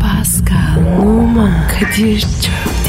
Pascal, Oman, Kadir çok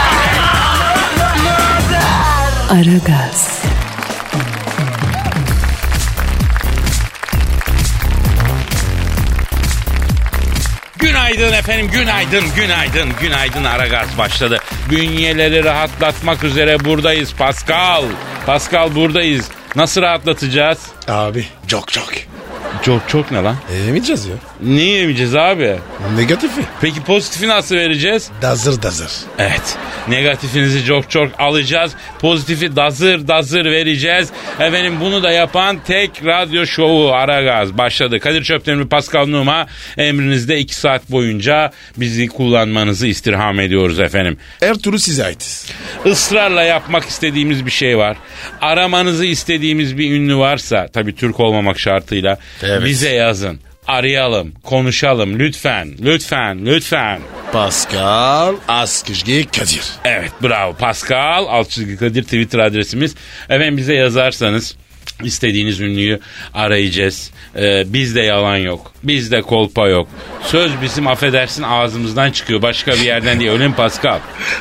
Aragaz, Günaydın efendim, günaydın, günaydın, günaydın. Aragaz başladı. Bünyeleri rahatlatmak üzere buradayız Pascal. Pascal buradayız. Nasıl rahatlatacağız? Abi çok çok. Çok çok ne lan? Yemeyeceğiz ya. Ne yemeyeceğiz abi? Negatifi. Peki pozitifi nasıl vereceğiz? Dazır dazır. Evet. Negatifinizi çok çok alacağız. Pozitifi dazır dazır vereceğiz. Efendim bunu da yapan tek radyo şovu Aragaz başladı. Kadir Çöptemir, Pascal Numa emrinizde 2 saat boyunca bizi kullanmanızı istirham ediyoruz efendim. Her türlü size aitiz. Israrla yapmak istediğimiz bir şey var. Aramanızı istediğimiz bir ünlü varsa tabii Türk olmamak şartıyla Evet. bize yazın. Arayalım, konuşalım lütfen, lütfen, lütfen. Pascal Askışgi Kadir. Evet bravo Pascal alt çizgi Kadir Twitter adresimiz. Efendim bize yazarsanız istediğiniz ünlüyü arayacağız. Ee, bizde yalan yok. Bizde kolpa yok. Söz bizim affedersin ağzımızdan çıkıyor. Başka bir yerden değil. Öyle mi Pascal?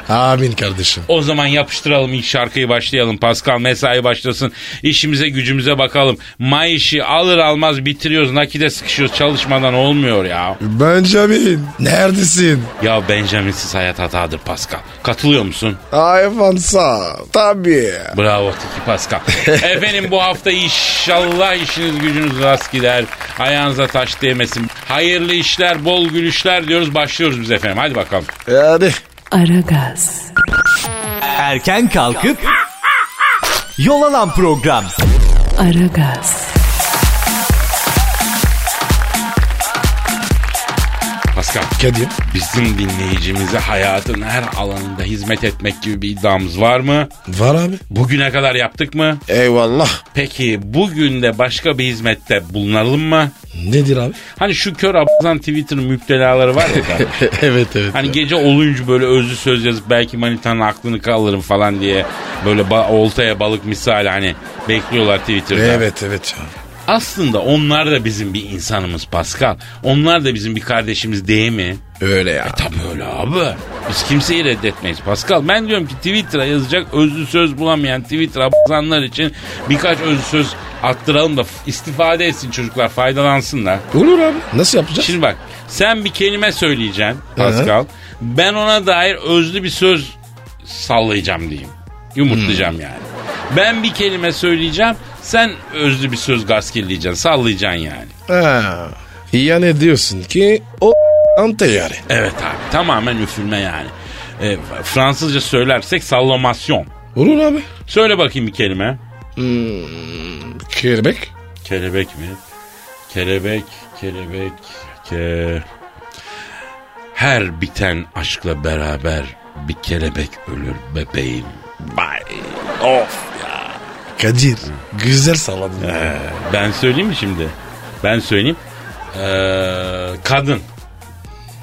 Amin kardeşim. O zaman yapıştıralım ilk şarkıyı başlayalım. Pascal mesai başlasın. İşimize gücümüze bakalım. May işi alır almaz bitiriyoruz. Nakide sıkışıyoruz. Çalışmadan olmuyor ya. Benjamin. Neredesin? Ya Benjamin'siz hayat hatadır Pascal. Katılıyor musun? Hayvan sağ. Tabii. Bravo Tiki Pascal. Efendim bu hafta inşallah işiniz gücünüz rast gider. Ayağınıza taş değmesin. Hayırlı işler, bol gülüşler diyoruz. Başlıyoruz biz efendim. Hadi bakalım. Yani. Aragaz, Erken kalkıp yol alan program. Aragaz, Pascal. Kadir. Bizim dinleyicimize hayatın her alanında hizmet etmek gibi bir iddiamız var mı? Var abi. Bugüne kadar yaptık mı? Eyvallah. Peki bugün de başka bir hizmette bulunalım mı? Nedir abi? Hani şu kör a**zan Twitter müptelaları var ya. kardeşim. evet evet. Hani gece olunca böyle özlü söz yazıp belki manitanın aklını kalırım falan diye böyle ba- oltaya balık misali hani bekliyorlar Twitter'da. Evet evet. Aslında onlar da bizim bir insanımız Pascal. Onlar da bizim bir kardeşimiz değil mi? E, Öyle ya. Tabii öyle abi. Biz kimseyi reddetmeyiz Pascal. Ben diyorum ki Twitter'a yazacak özlü söz bulamayan Twitter'a b**zanlar için birkaç özlü söz attıralım da istifade etsin çocuklar faydalansınlar. Olur abi. Nasıl yapacağız? Şimdi bak sen bir kelime söyleyeceksin Pascal. Ben ona dair özlü bir söz sallayacağım diyeyim. Yumurtlayacağım yani. Ben bir kelime söyleyeceğim. Sen özlü bir söz gaskilleyeceksin. Sallayacaksın yani. Ha. Yani diyorsun ki o ante yani. Evet abi. Tamamen üfürme yani. E, Fransızca söylersek sallamasyon. Olur abi. Söyle bakayım bir kelime. Kelebek. Kelebek mi? Kelebek, kelebek, ke... Her biten aşkla beraber bir kelebek ölür bebeğim. Vay. Of. Kadir. Güzel salladın. Ee, ben söyleyeyim mi şimdi? Ben söyleyeyim. Ee, kadın.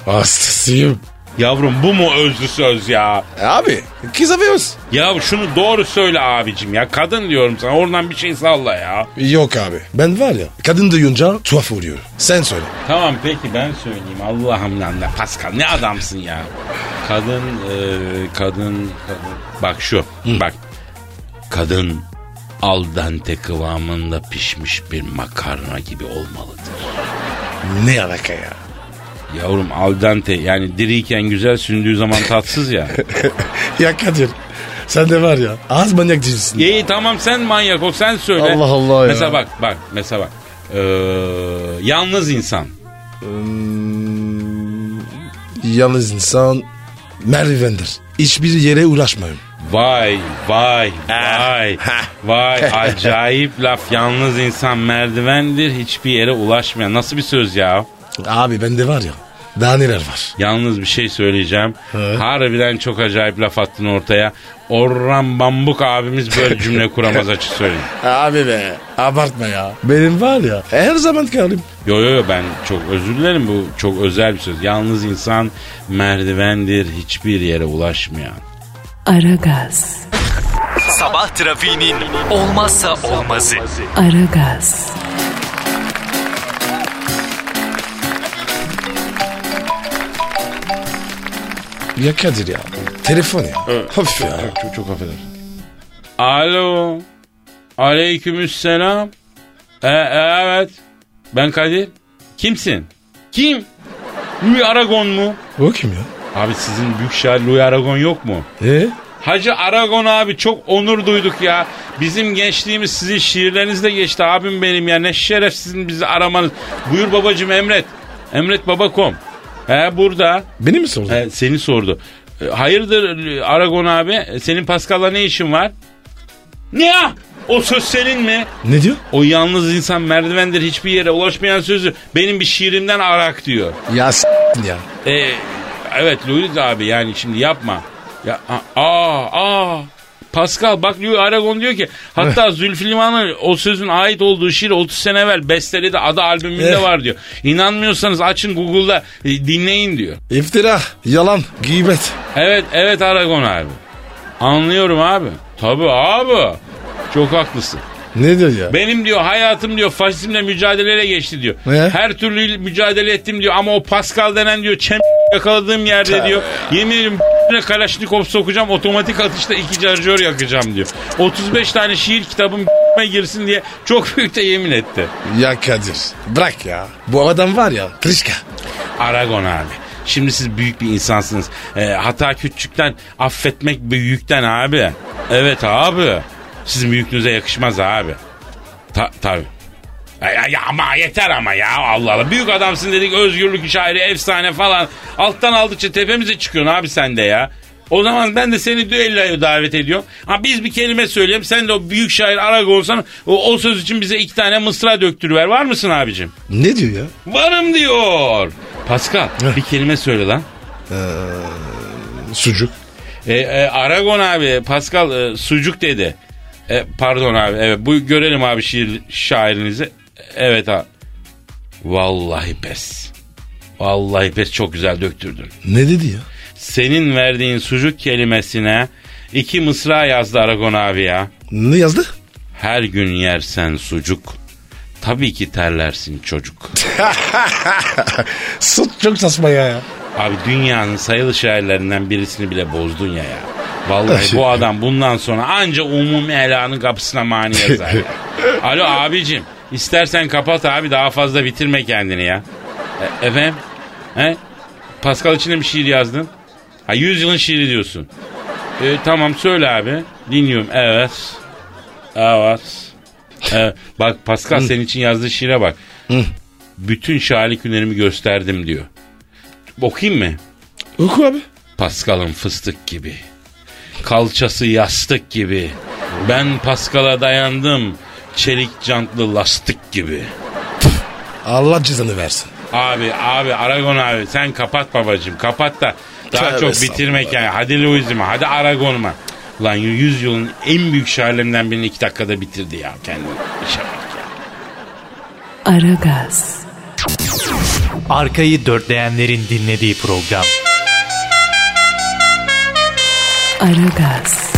Hastasıyım. Yavrum bu mu özlü söz ya? E Abi kız yapıyoruz. Ya şunu doğru söyle abicim ya. Kadın diyorum sana oradan bir şey salla ya. Yok abi. Ben var ya kadın duyunca tuhaf oluyor. Sen söyle. Tamam peki ben söyleyeyim. Allah'ım lan da Pascal ne adamsın ya. Kadın, e, kadın, kadın. Bak şu, bak. Kadın al dente kıvamında pişmiş bir makarna gibi olmalıdır. Ne alaka ya? Yavrum al dente yani diriyken güzel sündüğü zaman tatsız ya. Ya Kadir sen de var ya az manyak değilsin. İyi tamam sen manyak ol sen söyle. Allah Allah ya. Mesela bak bak mesela bak. Ee, yalnız insan. Yalnız insan merdivendir. Hiçbir yere uğraşmayın. Vay vay vay ha. vay acayip laf yalnız insan merdivendir hiçbir yere ulaşmayan nasıl bir söz ya Abi bende var ya Daha neler var? Yalnız bir şey söyleyeceğim. He. Harbiden çok acayip laf attın ortaya. Orhan Bambuk abimiz böyle cümle kuramaz açık söyleyeyim. Abi be abartma ya. Benim var ya her zaman karım. Yo yo yo ben çok özür dilerim bu çok özel bir söz. Yalnız insan merdivendir hiçbir yere ulaşmayan. Aragaz, Sabah trafiğinin olmazsa olmazı. Aragaz, Ya Kadir ya. Telefon ya. Hafif ya. Çok, çok affeder. Alo. Aleykümselam. E, e, evet. Ben Kadir. Kimsin? Kim? Louis Aragon mu? O kim ya? Abi sizin büyük şair Louis Aragon yok mu? E? Hacı Aragon abi çok onur duyduk ya. Bizim gençliğimiz sizin şiirlerinizle geçti abim benim ya. Ne şeref sizin bizi aramanız. Buyur babacım emret. Emret babakom. He burada. Beni mi sordun? He, seni sordu. E, Hayırdır e, Aragon abi? E, Senin Pascal'la ne işin var? Ne ya? O söz senin mi? Ne diyor? O yalnız insan merdivendir hiçbir yere ulaşmayan sözü benim bir şiirimden arak diyor. Ya s- ya. E, evet Louis abi yani şimdi yapma. Ya, a- aa, aa. Pascal bak diyor Aragon diyor ki hatta Zülfü Livan'ın o sözün ait olduğu şiir 30 sene evvel besteledi adı albümünde Eh. var diyor. İnanmıyorsanız açın Google'da e, dinleyin diyor. İftira, yalan, gıybet. Evet evet Aragon abi. Anlıyorum abi. Tabii abi. Çok haklısın. Ne diyor ya? Benim diyor hayatım diyor faşizmle mücadeleyle geçti diyor. Ne? Her türlü mücadele ettim diyor ama o Pascal denen diyor çem yakaladığım yerde diyor. Yemin ederim ne Kalaşnikov sokacağım otomatik atışta iki carjör yakacağım diyor. 35 tane şiir kitabım girsin diye çok büyük de yemin etti. Ya Kadir bırak ya. Bu adam var ya Trişka. Aragon abi. Şimdi siz büyük bir insansınız. Ee, hata küçükten affetmek büyükten abi. Evet abi. Sizin büyüklüğünüze yakışmaz abi. Ta tabii. Ya, ya- ya ama yeter ama ya Allah Allah. Büyük adamsın dedik özgürlük şairi efsane falan. Alttan aldıkça tepemize çıkıyorsun abi sen de ya. O zaman ben de seni düelloya davet ediyorum. Ha biz bir kelime söyleyelim. Sen de o büyük şair Aragon'san o, o söz için bize iki tane mısra döktürüver. Var mısın abicim? Ne diyor ya? Varım diyor. Pascal Heh. bir kelime söyle lan. Sucuk. E, e, Aragon abi Pascal e, sucuk dedi. E, pardon abi evet bu görelim abi şiir şairinizi. Evet abi. Vallahi pes. Vallahi pes çok güzel döktürdün. Ne dedi ya? Senin verdiğin sucuk kelimesine iki mısra yazdı Aragon abi ya. Ne yazdı? Her gün yersen sucuk. Tabii ki terlersin çocuk. Sut çok saçma ya. Abi dünyanın sayılı şairlerinden birisini bile bozdun ya ya. Vallahi bu adam bundan sonra anca umumi elanın kapısına mani yazar. ya. Alo abicim istersen kapat abi daha fazla bitirme kendini ya. E, efendim? He? Pascal için de mi şiir yazdın? Ha 100 yılın şiiri diyorsun. E, tamam söyle abi. Dinliyorum. Evet. Evet. E, bak Pascal senin için yazdığı şiire bak. Bütün şairlik hünerimi gösterdim diyor. Okuyayım mı? Oku abi. Pascal'ın fıstık gibi. Kalçası yastık gibi. Ben Pascal'a dayandım. Çelik cantlı lastik gibi. Allah cezanı versin. Abi abi Aragon abi sen kapat babacığım kapat da daha Tövbe çok bitirmek yani. Hadi Louis'ime hadi Aragon'uma. Lan yüz yılın en büyük şairlerinden birini iki dakikada bitirdi ya kendini. İşe bak ya. Aragaz, Arkayı dörtleyenlerin dinlediği program. Aragaz,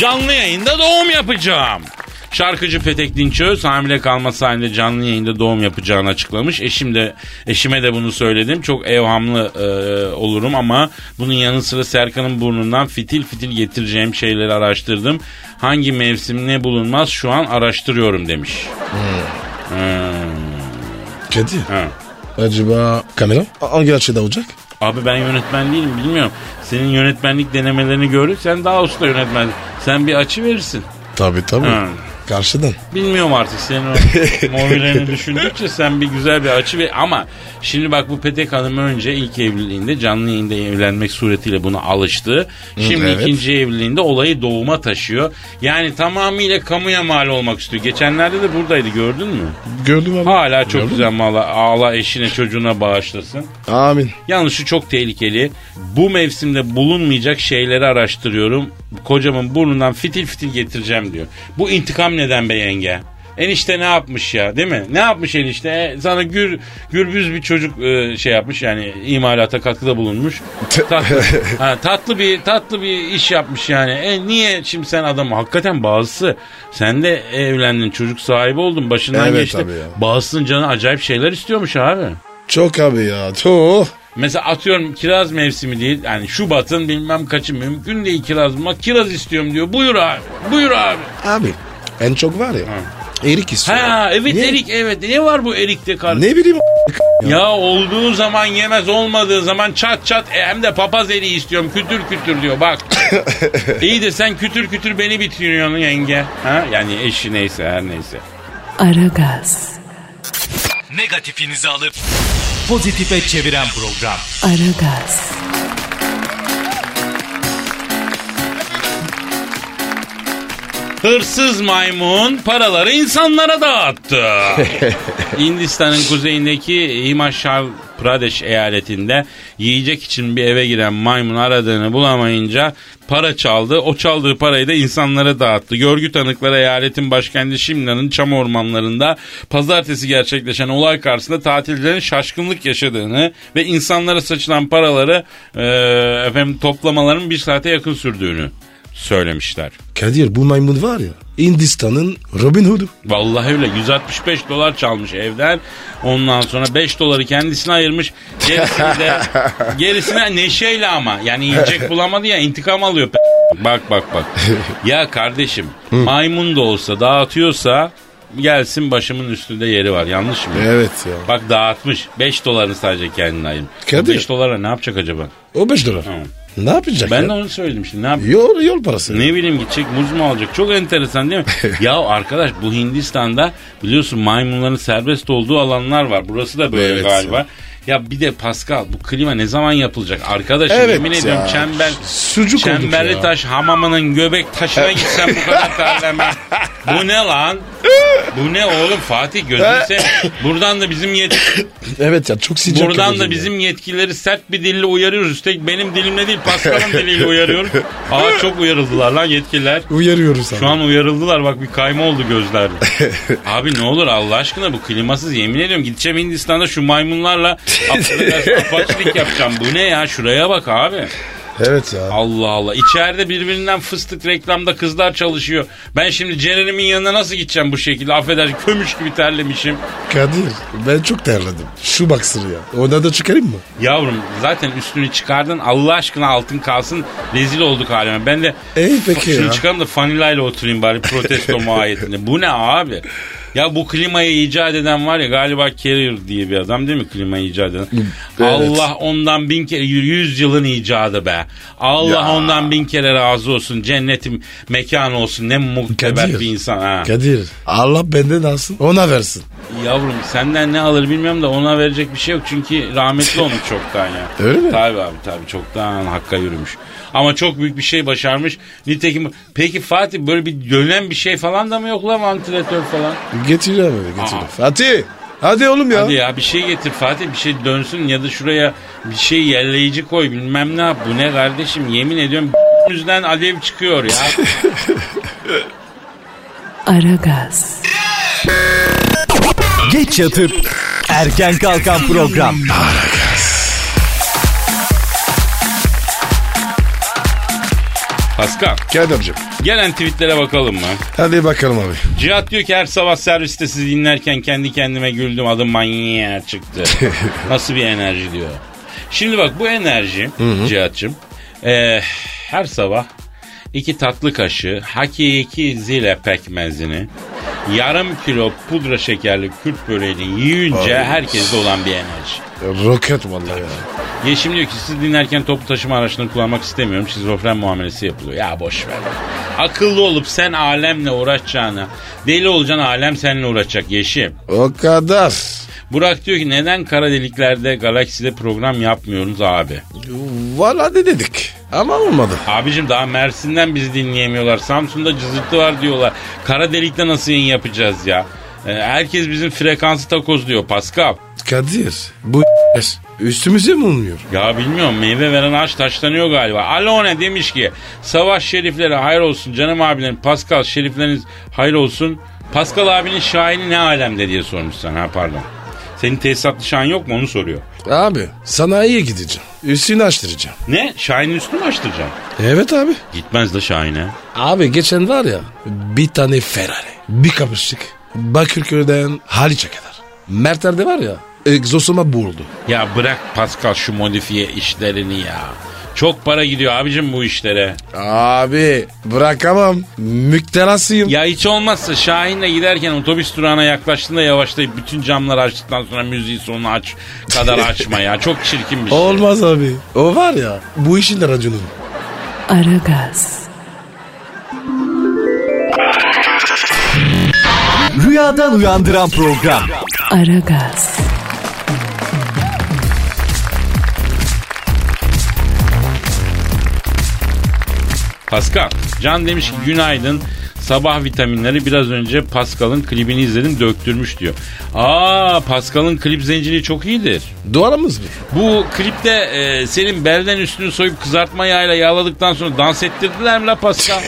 Canlı yayında doğum yapacağım. Şarkıcı Petek Dinçöz hamile kalması halinde canlı yayında doğum yapacağını açıklamış. Eşim de eşime de bunu söyledim. Çok evhamlı e, olurum ama bunun yanı sıra Serkan'ın burnundan fitil fitil getireceğim şeyleri araştırdım. Hangi mevsim ne bulunmaz şu an araştırıyorum demiş. Kadir. Ha. Acaba kamera hangi açıda olacak? Abi ben yönetmen değilim bilmiyorum. Senin yönetmenlik denemelerini gördük. Sen daha usta yönetmen. Sen bir açı verirsin. Tabii tabii. Ha. Karşıdan. Bilmiyorum artık senin o mobilyeni düşündükçe sen bir güzel bir açı ve ama şimdi bak bu Petek Hanım önce ilk evliliğinde canlı yayında evlenmek suretiyle buna alıştı. Şimdi evet. ikinci evliliğinde olayı doğuma taşıyor. Yani tamamıyla kamuya mal olmak istiyor. Geçenlerde de buradaydı gördün mü? Gördüm abi. Hala çok Gördün güzel mala ağla eşine çocuğuna bağışlasın. mü? Amin. Yalnız şu çok tehlikeli. Bu mevsimde bulunmayacak şeyleri araştırıyorum. Kocamın burnundan fitil fitil getireceğim diyor. Bu intikam neden be yenge? Enişte ne yapmış ya değil mi? Ne yapmış enişte? E, Sana gür, gürbüz bir çocuk e, şey yapmış yani imalata katkıda bulunmuş. Tatlı, ha, tatlı bir tatlı bir iş yapmış yani. E, niye şimdi sen adamı hakikaten bazısı sen de evlendin çocuk sahibi oldun başından Evet geçti. abi ya. Bazısının canı acayip şeyler istiyormuş abi. Çok abi ya. Çok. Mesela atıyorum kiraz mevsimi değil. Yani Şubat'ın bilmem kaçı mümkün değil kiraz bulmak. Kiraz istiyorum diyor. Buyur abi. Buyur abi. Abi en çok var ya. Erik istiyor. Ha evet Niye? erik evet. Ne var bu erikte kardeşim? Ne bileyim Ya olduğu zaman yemez olmadığı zaman çat çat e, hem de papaz eriği istiyorum kütür kütür diyor bak. İyi de sen kütür kütür beni bitiriyorsun yenge. Ha? Yani eşi neyse her neyse. Aragaz, Negatifinizi alıp pozitife çeviren program. Aragaz, Hırsız maymun paraları insanlara dağıttı. Hindistan'ın kuzeyindeki Himachal Pradesh eyaletinde yiyecek için bir eve giren maymun aradığını bulamayınca para çaldı. O çaldığı parayı da insanlara dağıttı. Görgü tanıkları eyaletin başkenti Şimla'nın çam ormanlarında pazartesi gerçekleşen olay karşısında tatilcilerin şaşkınlık yaşadığını ve insanlara saçılan paraları eee, efendim toplamaların bir saate yakın sürdüğünü söylemişler. Kadir bu maymun var ya. Hindistan'ın Robin Hood'u. Vallahi öyle 165 dolar çalmış evden. Ondan sonra 5 doları kendisine ayırmış. Gerisini de gerisine neşeyle ama. Yani yiyecek bulamadı ya intikam alıyor. p- Bak bak bak. Ya kardeşim maymun da olsa dağıtıyorsa gelsin başımın üstünde yeri var. Yanlış mı? Evet ya. Bak dağıtmış. 5 dolarını sadece kendine ayırmış. Kadir. 5 dolara ne yapacak acaba? O 5 dolar. Ne yapacak Ben ya? de onu söyledim şimdi. Ne yapacak? Yol, yol parası. Ne bileyim gidecek muz mu alacak? Çok enteresan değil mi? ya arkadaş bu Hindistan'da biliyorsun maymunların serbest olduğu alanlar var. Burası da böyle Evet galiba. ya. Ya. bir de Pascal bu klima ne zaman yapılacak? Arkadaşım Evet yemin ediyorum ya. çember, Sucuk olduk çemberli ya. taş hamamının göbek taşına gitsem bu kadar terlemem. bu ne lan? Bu ne oğlum Fatih gözünü seveyim. Buradan da bizim yet- Evet ya çok şey. sıcak. buradan da yapacak ya. bizim yetkileri sert bir dille uyarıyoruz. Üstelik benim dilimle değil Pascal'ın diliyle uyarıyorum. Aa çok uyarıldılar lan yetkililer. Uyarıyoruz abi. Şu an uyarıldılar bak bir kayma oldu gözlerde. Abi ne olur Allah aşkına bu klimasız yemin ediyorum gideceğim Hindistan'da şu maymunlarla affedersin, apaçlık yapacağım. Bu ne ya şuraya bak abi. Evet ya. Allah Allah içeride birbirinden fıstık reklamda kızlar çalışıyor. Ben şimdi Ceren'imin yanına nasıl gideceğim bu şekilde affedersin kömüş gibi terlemişim. Kadir ben çok terledim. Şu baksır ya. Ona da çıkarayım mı? Yavrum zaten üstünü çıkardın Allah aşkına altın kalsın rezil olduk halime. Ben de Ey peki şunu ya. çıkarım da fanilayla oturayım bari protesto muayetinde. Bu ne abi? Ya bu klimayı icat eden var ya galiba Carrier diye bir adam değil mi klimayı icat eden? Allah ondan bin kere y- yüz yılın icadı be. Allah Ya. ondan bin kere razı olsun. Cennetim mekan olsun. Ne muhteber Kadir. bir insan ha. Kadir Allah benden alsın ona versin. Yavrum senden ne alır bilmiyorum da ona verecek bir şey yok. Çünkü rahmetli olmuş çoktan ya. Öyle mi? Tabii abi tabii çoktan hakka yürümüş. Ama çok büyük bir şey başarmış. Nitekim peki Fatih böyle bir dönen bir şey falan da mı yok lan vantilatör falan? Getiriyor abi getiriyor. Aa. Fatih hadi oğlum ya. Hadi ya bir şey getir Fatih bir şey dönsün ya da şuraya bir şey yerleyici koy bilmem ne yap. Bu ne kardeşim yemin ediyorum yüzden alev çıkıyor ya. Aragaz, Geç yatıp erken kalkan program. Pascal Kadir'cim gelen tweetlere bakalım mı? hadi bakalım abi. Cihat diyor ki her sabah serviste sizi dinlerken kendi kendime güldüm adım manyağa çıktı. Nasıl bir enerji diyor. Şimdi bak bu enerji Cihat'cığım eh, her sabah iki tatlı kaşığı hakiki zile pekmezini yarım kilo pudra şekerli kürt böreğini yiyince Ay. herkeste olan bir enerji. Roket vallahi ya. Yeşim diyor ki siz dinlerken toplu taşıma araçlarını kullanmak istemiyorum. Şizofren muamelesi yapılıyor. Ya boş ver. Akıllı olup sen alemle uğraşacağına, deli olacaksın alem seninle uğraşacak Yeşim. O kadar. Burak diyor ki neden kara deliklerde, galakside program yapmıyorsunuz abi? Valla ne dedik. Ama olmadı. Abicim daha Mersin'den bizi dinleyemiyorlar. Samsun'da cızırtı var diyorlar. Kara delikte nasıl yayın yapacağız ya? Ee, herkes bizim frekansı takoz diyor Pascal. Kadir bu üstümüze mi olmuyor? Ya bilmiyorum meyve veren ağaç taşlanıyor galiba. Alone demiş ki Savaş Şeriflere hayır olsun canım abilerim. Pascal Şerifleriniz hayır olsun. Pascal abinin şahini ne alemde diye sormuş sana ha pardon. Senin tesisatlı şahin yok mu onu soruyor. Abi sanayiye gideceğim. Üstünü açtıracağım. Ne? Şahin'in üstünü mü açtıracağım? Evet abi. Gitmez de Şahin'e. Abi geçen var ya bir tane Ferrari. Bir kapıştık. Bakırköy'den Haliç'e kadar. Mertler'de var ya E, egzosuma boğuldu. Ya bırak Pascal şu modifiye işlerini ya. Çok para gidiyor abicim bu işlere. Abi bırakamam. Müktelasıyım. Ya hiç olmazsa Şahin'le giderken otobüs durağına yaklaştığında yavaşlayıp bütün camları açtıktan sonra müziği sonuna aç kadar açma ya. Çok çirkin bir şey. Olmaz abi. O var ya bu işin de raconu. Aragaz, Rüyadan uyandıran program. Aragaz, Pascal. Can demiş ki günaydın. Sabah vitaminleri biraz önce Pascal'ın klibini izledim döktürmüş diyor. Aa Pascal'ın klip zinciri çok iyidir. Duvarımız mı? Bu klipte e, senin belden üstünü soyup kızartma yağıyla yağladıktan sonra dans ettirdiler mi la Pascal?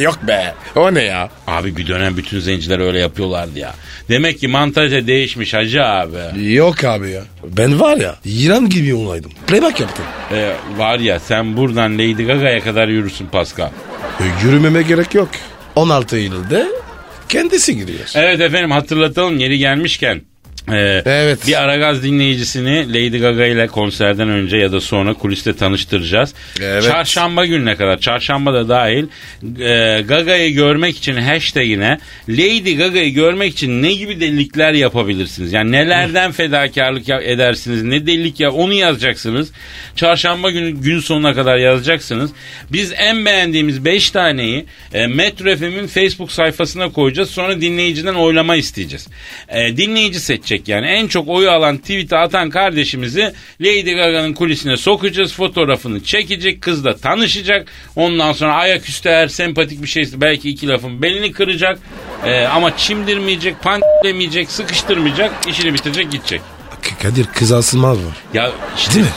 Yok be. O ne ya? Abi bir dönem bütün zenciler öyle yapıyorlardı ya. Demek ki mantalite değişmiş hacı abi. Yok abi ya. Ben var ya yılan gibi olaydım. Playback yaptım. Ee, var ya sen buradan Lady Gaga'ya kadar yürürsün Pascal. E, yürümeme gerek yok. 16 Eylül'de kendisi giriyor. Evet efendim hatırlatalım yeri gelmişken. e, Evet. Bir Aragaz dinleyicisini Lady Gaga ile konserden önce ya da sonra kuliste tanıştıracağız. Evet. Çarşamba gününe kadar, çarşamba da dahil e, Gaga'yı görmek için hashtagine Lady Gaga'yı görmek için ne gibi delilikler yapabilirsiniz? Yani nelerden fedakarlık ya- edersiniz, ne delilik ya onu yazacaksınız. Çarşamba günü gün sonuna kadar yazacaksınız. Biz en beğendiğimiz 5 taneyi e, Metro FM'in Facebook sayfasına koyacağız. Sonra dinleyiciden oylama isteyeceğiz. E, dinleyici seçecek yani. En çok oyu alan tweet'e atan kardeşimizi Lady Gaga'nın kulisine sokacağız. Fotoğrafını çekecek. Kızla tanışacak. Ondan sonra ayaküstü eğer sempatik bir şeyse belki iki lafın belini kıracak. E, ama çimdirmeyecek, pandemeyecek, sıkıştırmayacak. işini bitirecek, gidecek. E, K- Kadir kız asılmaz var. Ya işte Değil mi?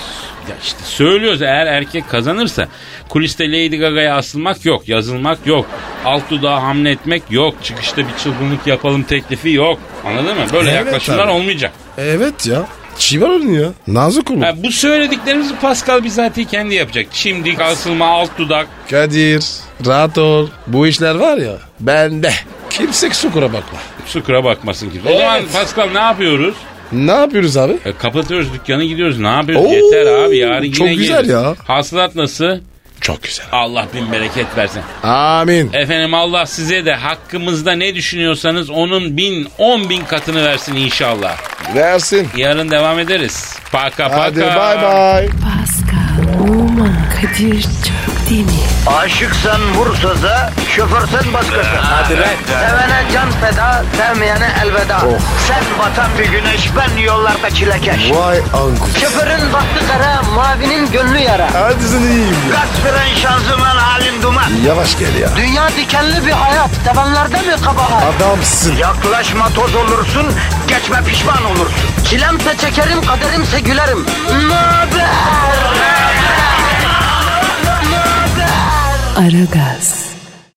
ya işte söylüyoruz eğer erkek kazanırsa kuliste Lady Gaga'ya asılmak yok, yazılmak yok. Alt dudağa hamle etmek yok. Çıkışta bir çılgınlık yapalım teklifi yok. Anladın mı? Böyle Evet yaklaşımlar abi. olmayacak. Evet ya. Çivar oynuyor. Nazik olur. Ha, bu söylediklerimizi Pascal bizatihi kendi yapacak. Çimdik, asılma, alt dudak. Kadir rahat ol. Bu işler var ya bende. Kimse sukura bakma. Sukura bakmasın kimse. O Evet. zaman Pascal ne yapıyoruz? Ne yapıyoruz abi? E, kapatıyoruz dükkanı gidiyoruz. Ne yapıyoruz? Oo, Yeter abi yarın yine çok güzel geliriz. ya. Hasılat nasıl? Çok güzel. Allah bin bereket versin. Amin. Efendim Allah size de hakkımızda ne düşünüyorsanız onun bin, on bin katını versin inşallah. Versin. Yarın devam ederiz. Paka paka. Hadi bay bay. Pascal, Oman, Kadir çok değil mi? Aşıksan vursa da, şoförsen başkasın. Hadi Sevene can feda, sevmeyene elveda. Sen batan bir güneş, ben yollarda çilekeş. Vay anku. Şoförün baktı kara, mavinin gönlü yara. Hadi sen iyiyim ya. Kasperen şanzıman halin duman. Yavaş gel ya. Dünya dikenli bir hayat, sevenlerde mi kabahar? Adamsın. Yaklaşma toz olursun, geçme pişman olursun. Çilemse çekerim, kaderimse gülerim. Möber! Aragaz.